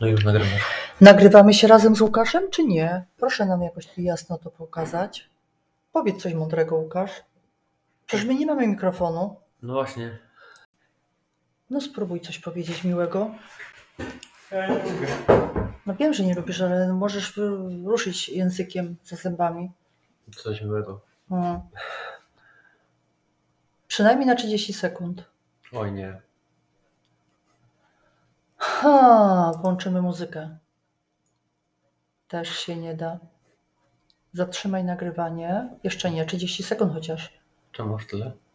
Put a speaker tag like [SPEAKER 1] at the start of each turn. [SPEAKER 1] No już nagramy.
[SPEAKER 2] Nagrywamy się razem z Łukaszem, czy nie? Proszę nam jakoś tu jasno to pokazać. Powiedz coś mądrego, Łukasz. Przecież my nie mamy mikrofonu.
[SPEAKER 1] No właśnie.
[SPEAKER 2] No spróbuj coś powiedzieć miłego.
[SPEAKER 3] Ja nie lubię.
[SPEAKER 2] No wiem, że nie lubisz, ale możesz wy- ruszyć językiem za zębami.
[SPEAKER 1] Coś miłego.
[SPEAKER 2] Mm. Przynajmniej na 30 sekund.
[SPEAKER 1] Oj nie.
[SPEAKER 2] Ha, włączymy muzykę. Też się nie da. Zatrzymaj nagrywanie. Jeszcze nie, 30 sekund chociaż.
[SPEAKER 1] Czemu aż tyle?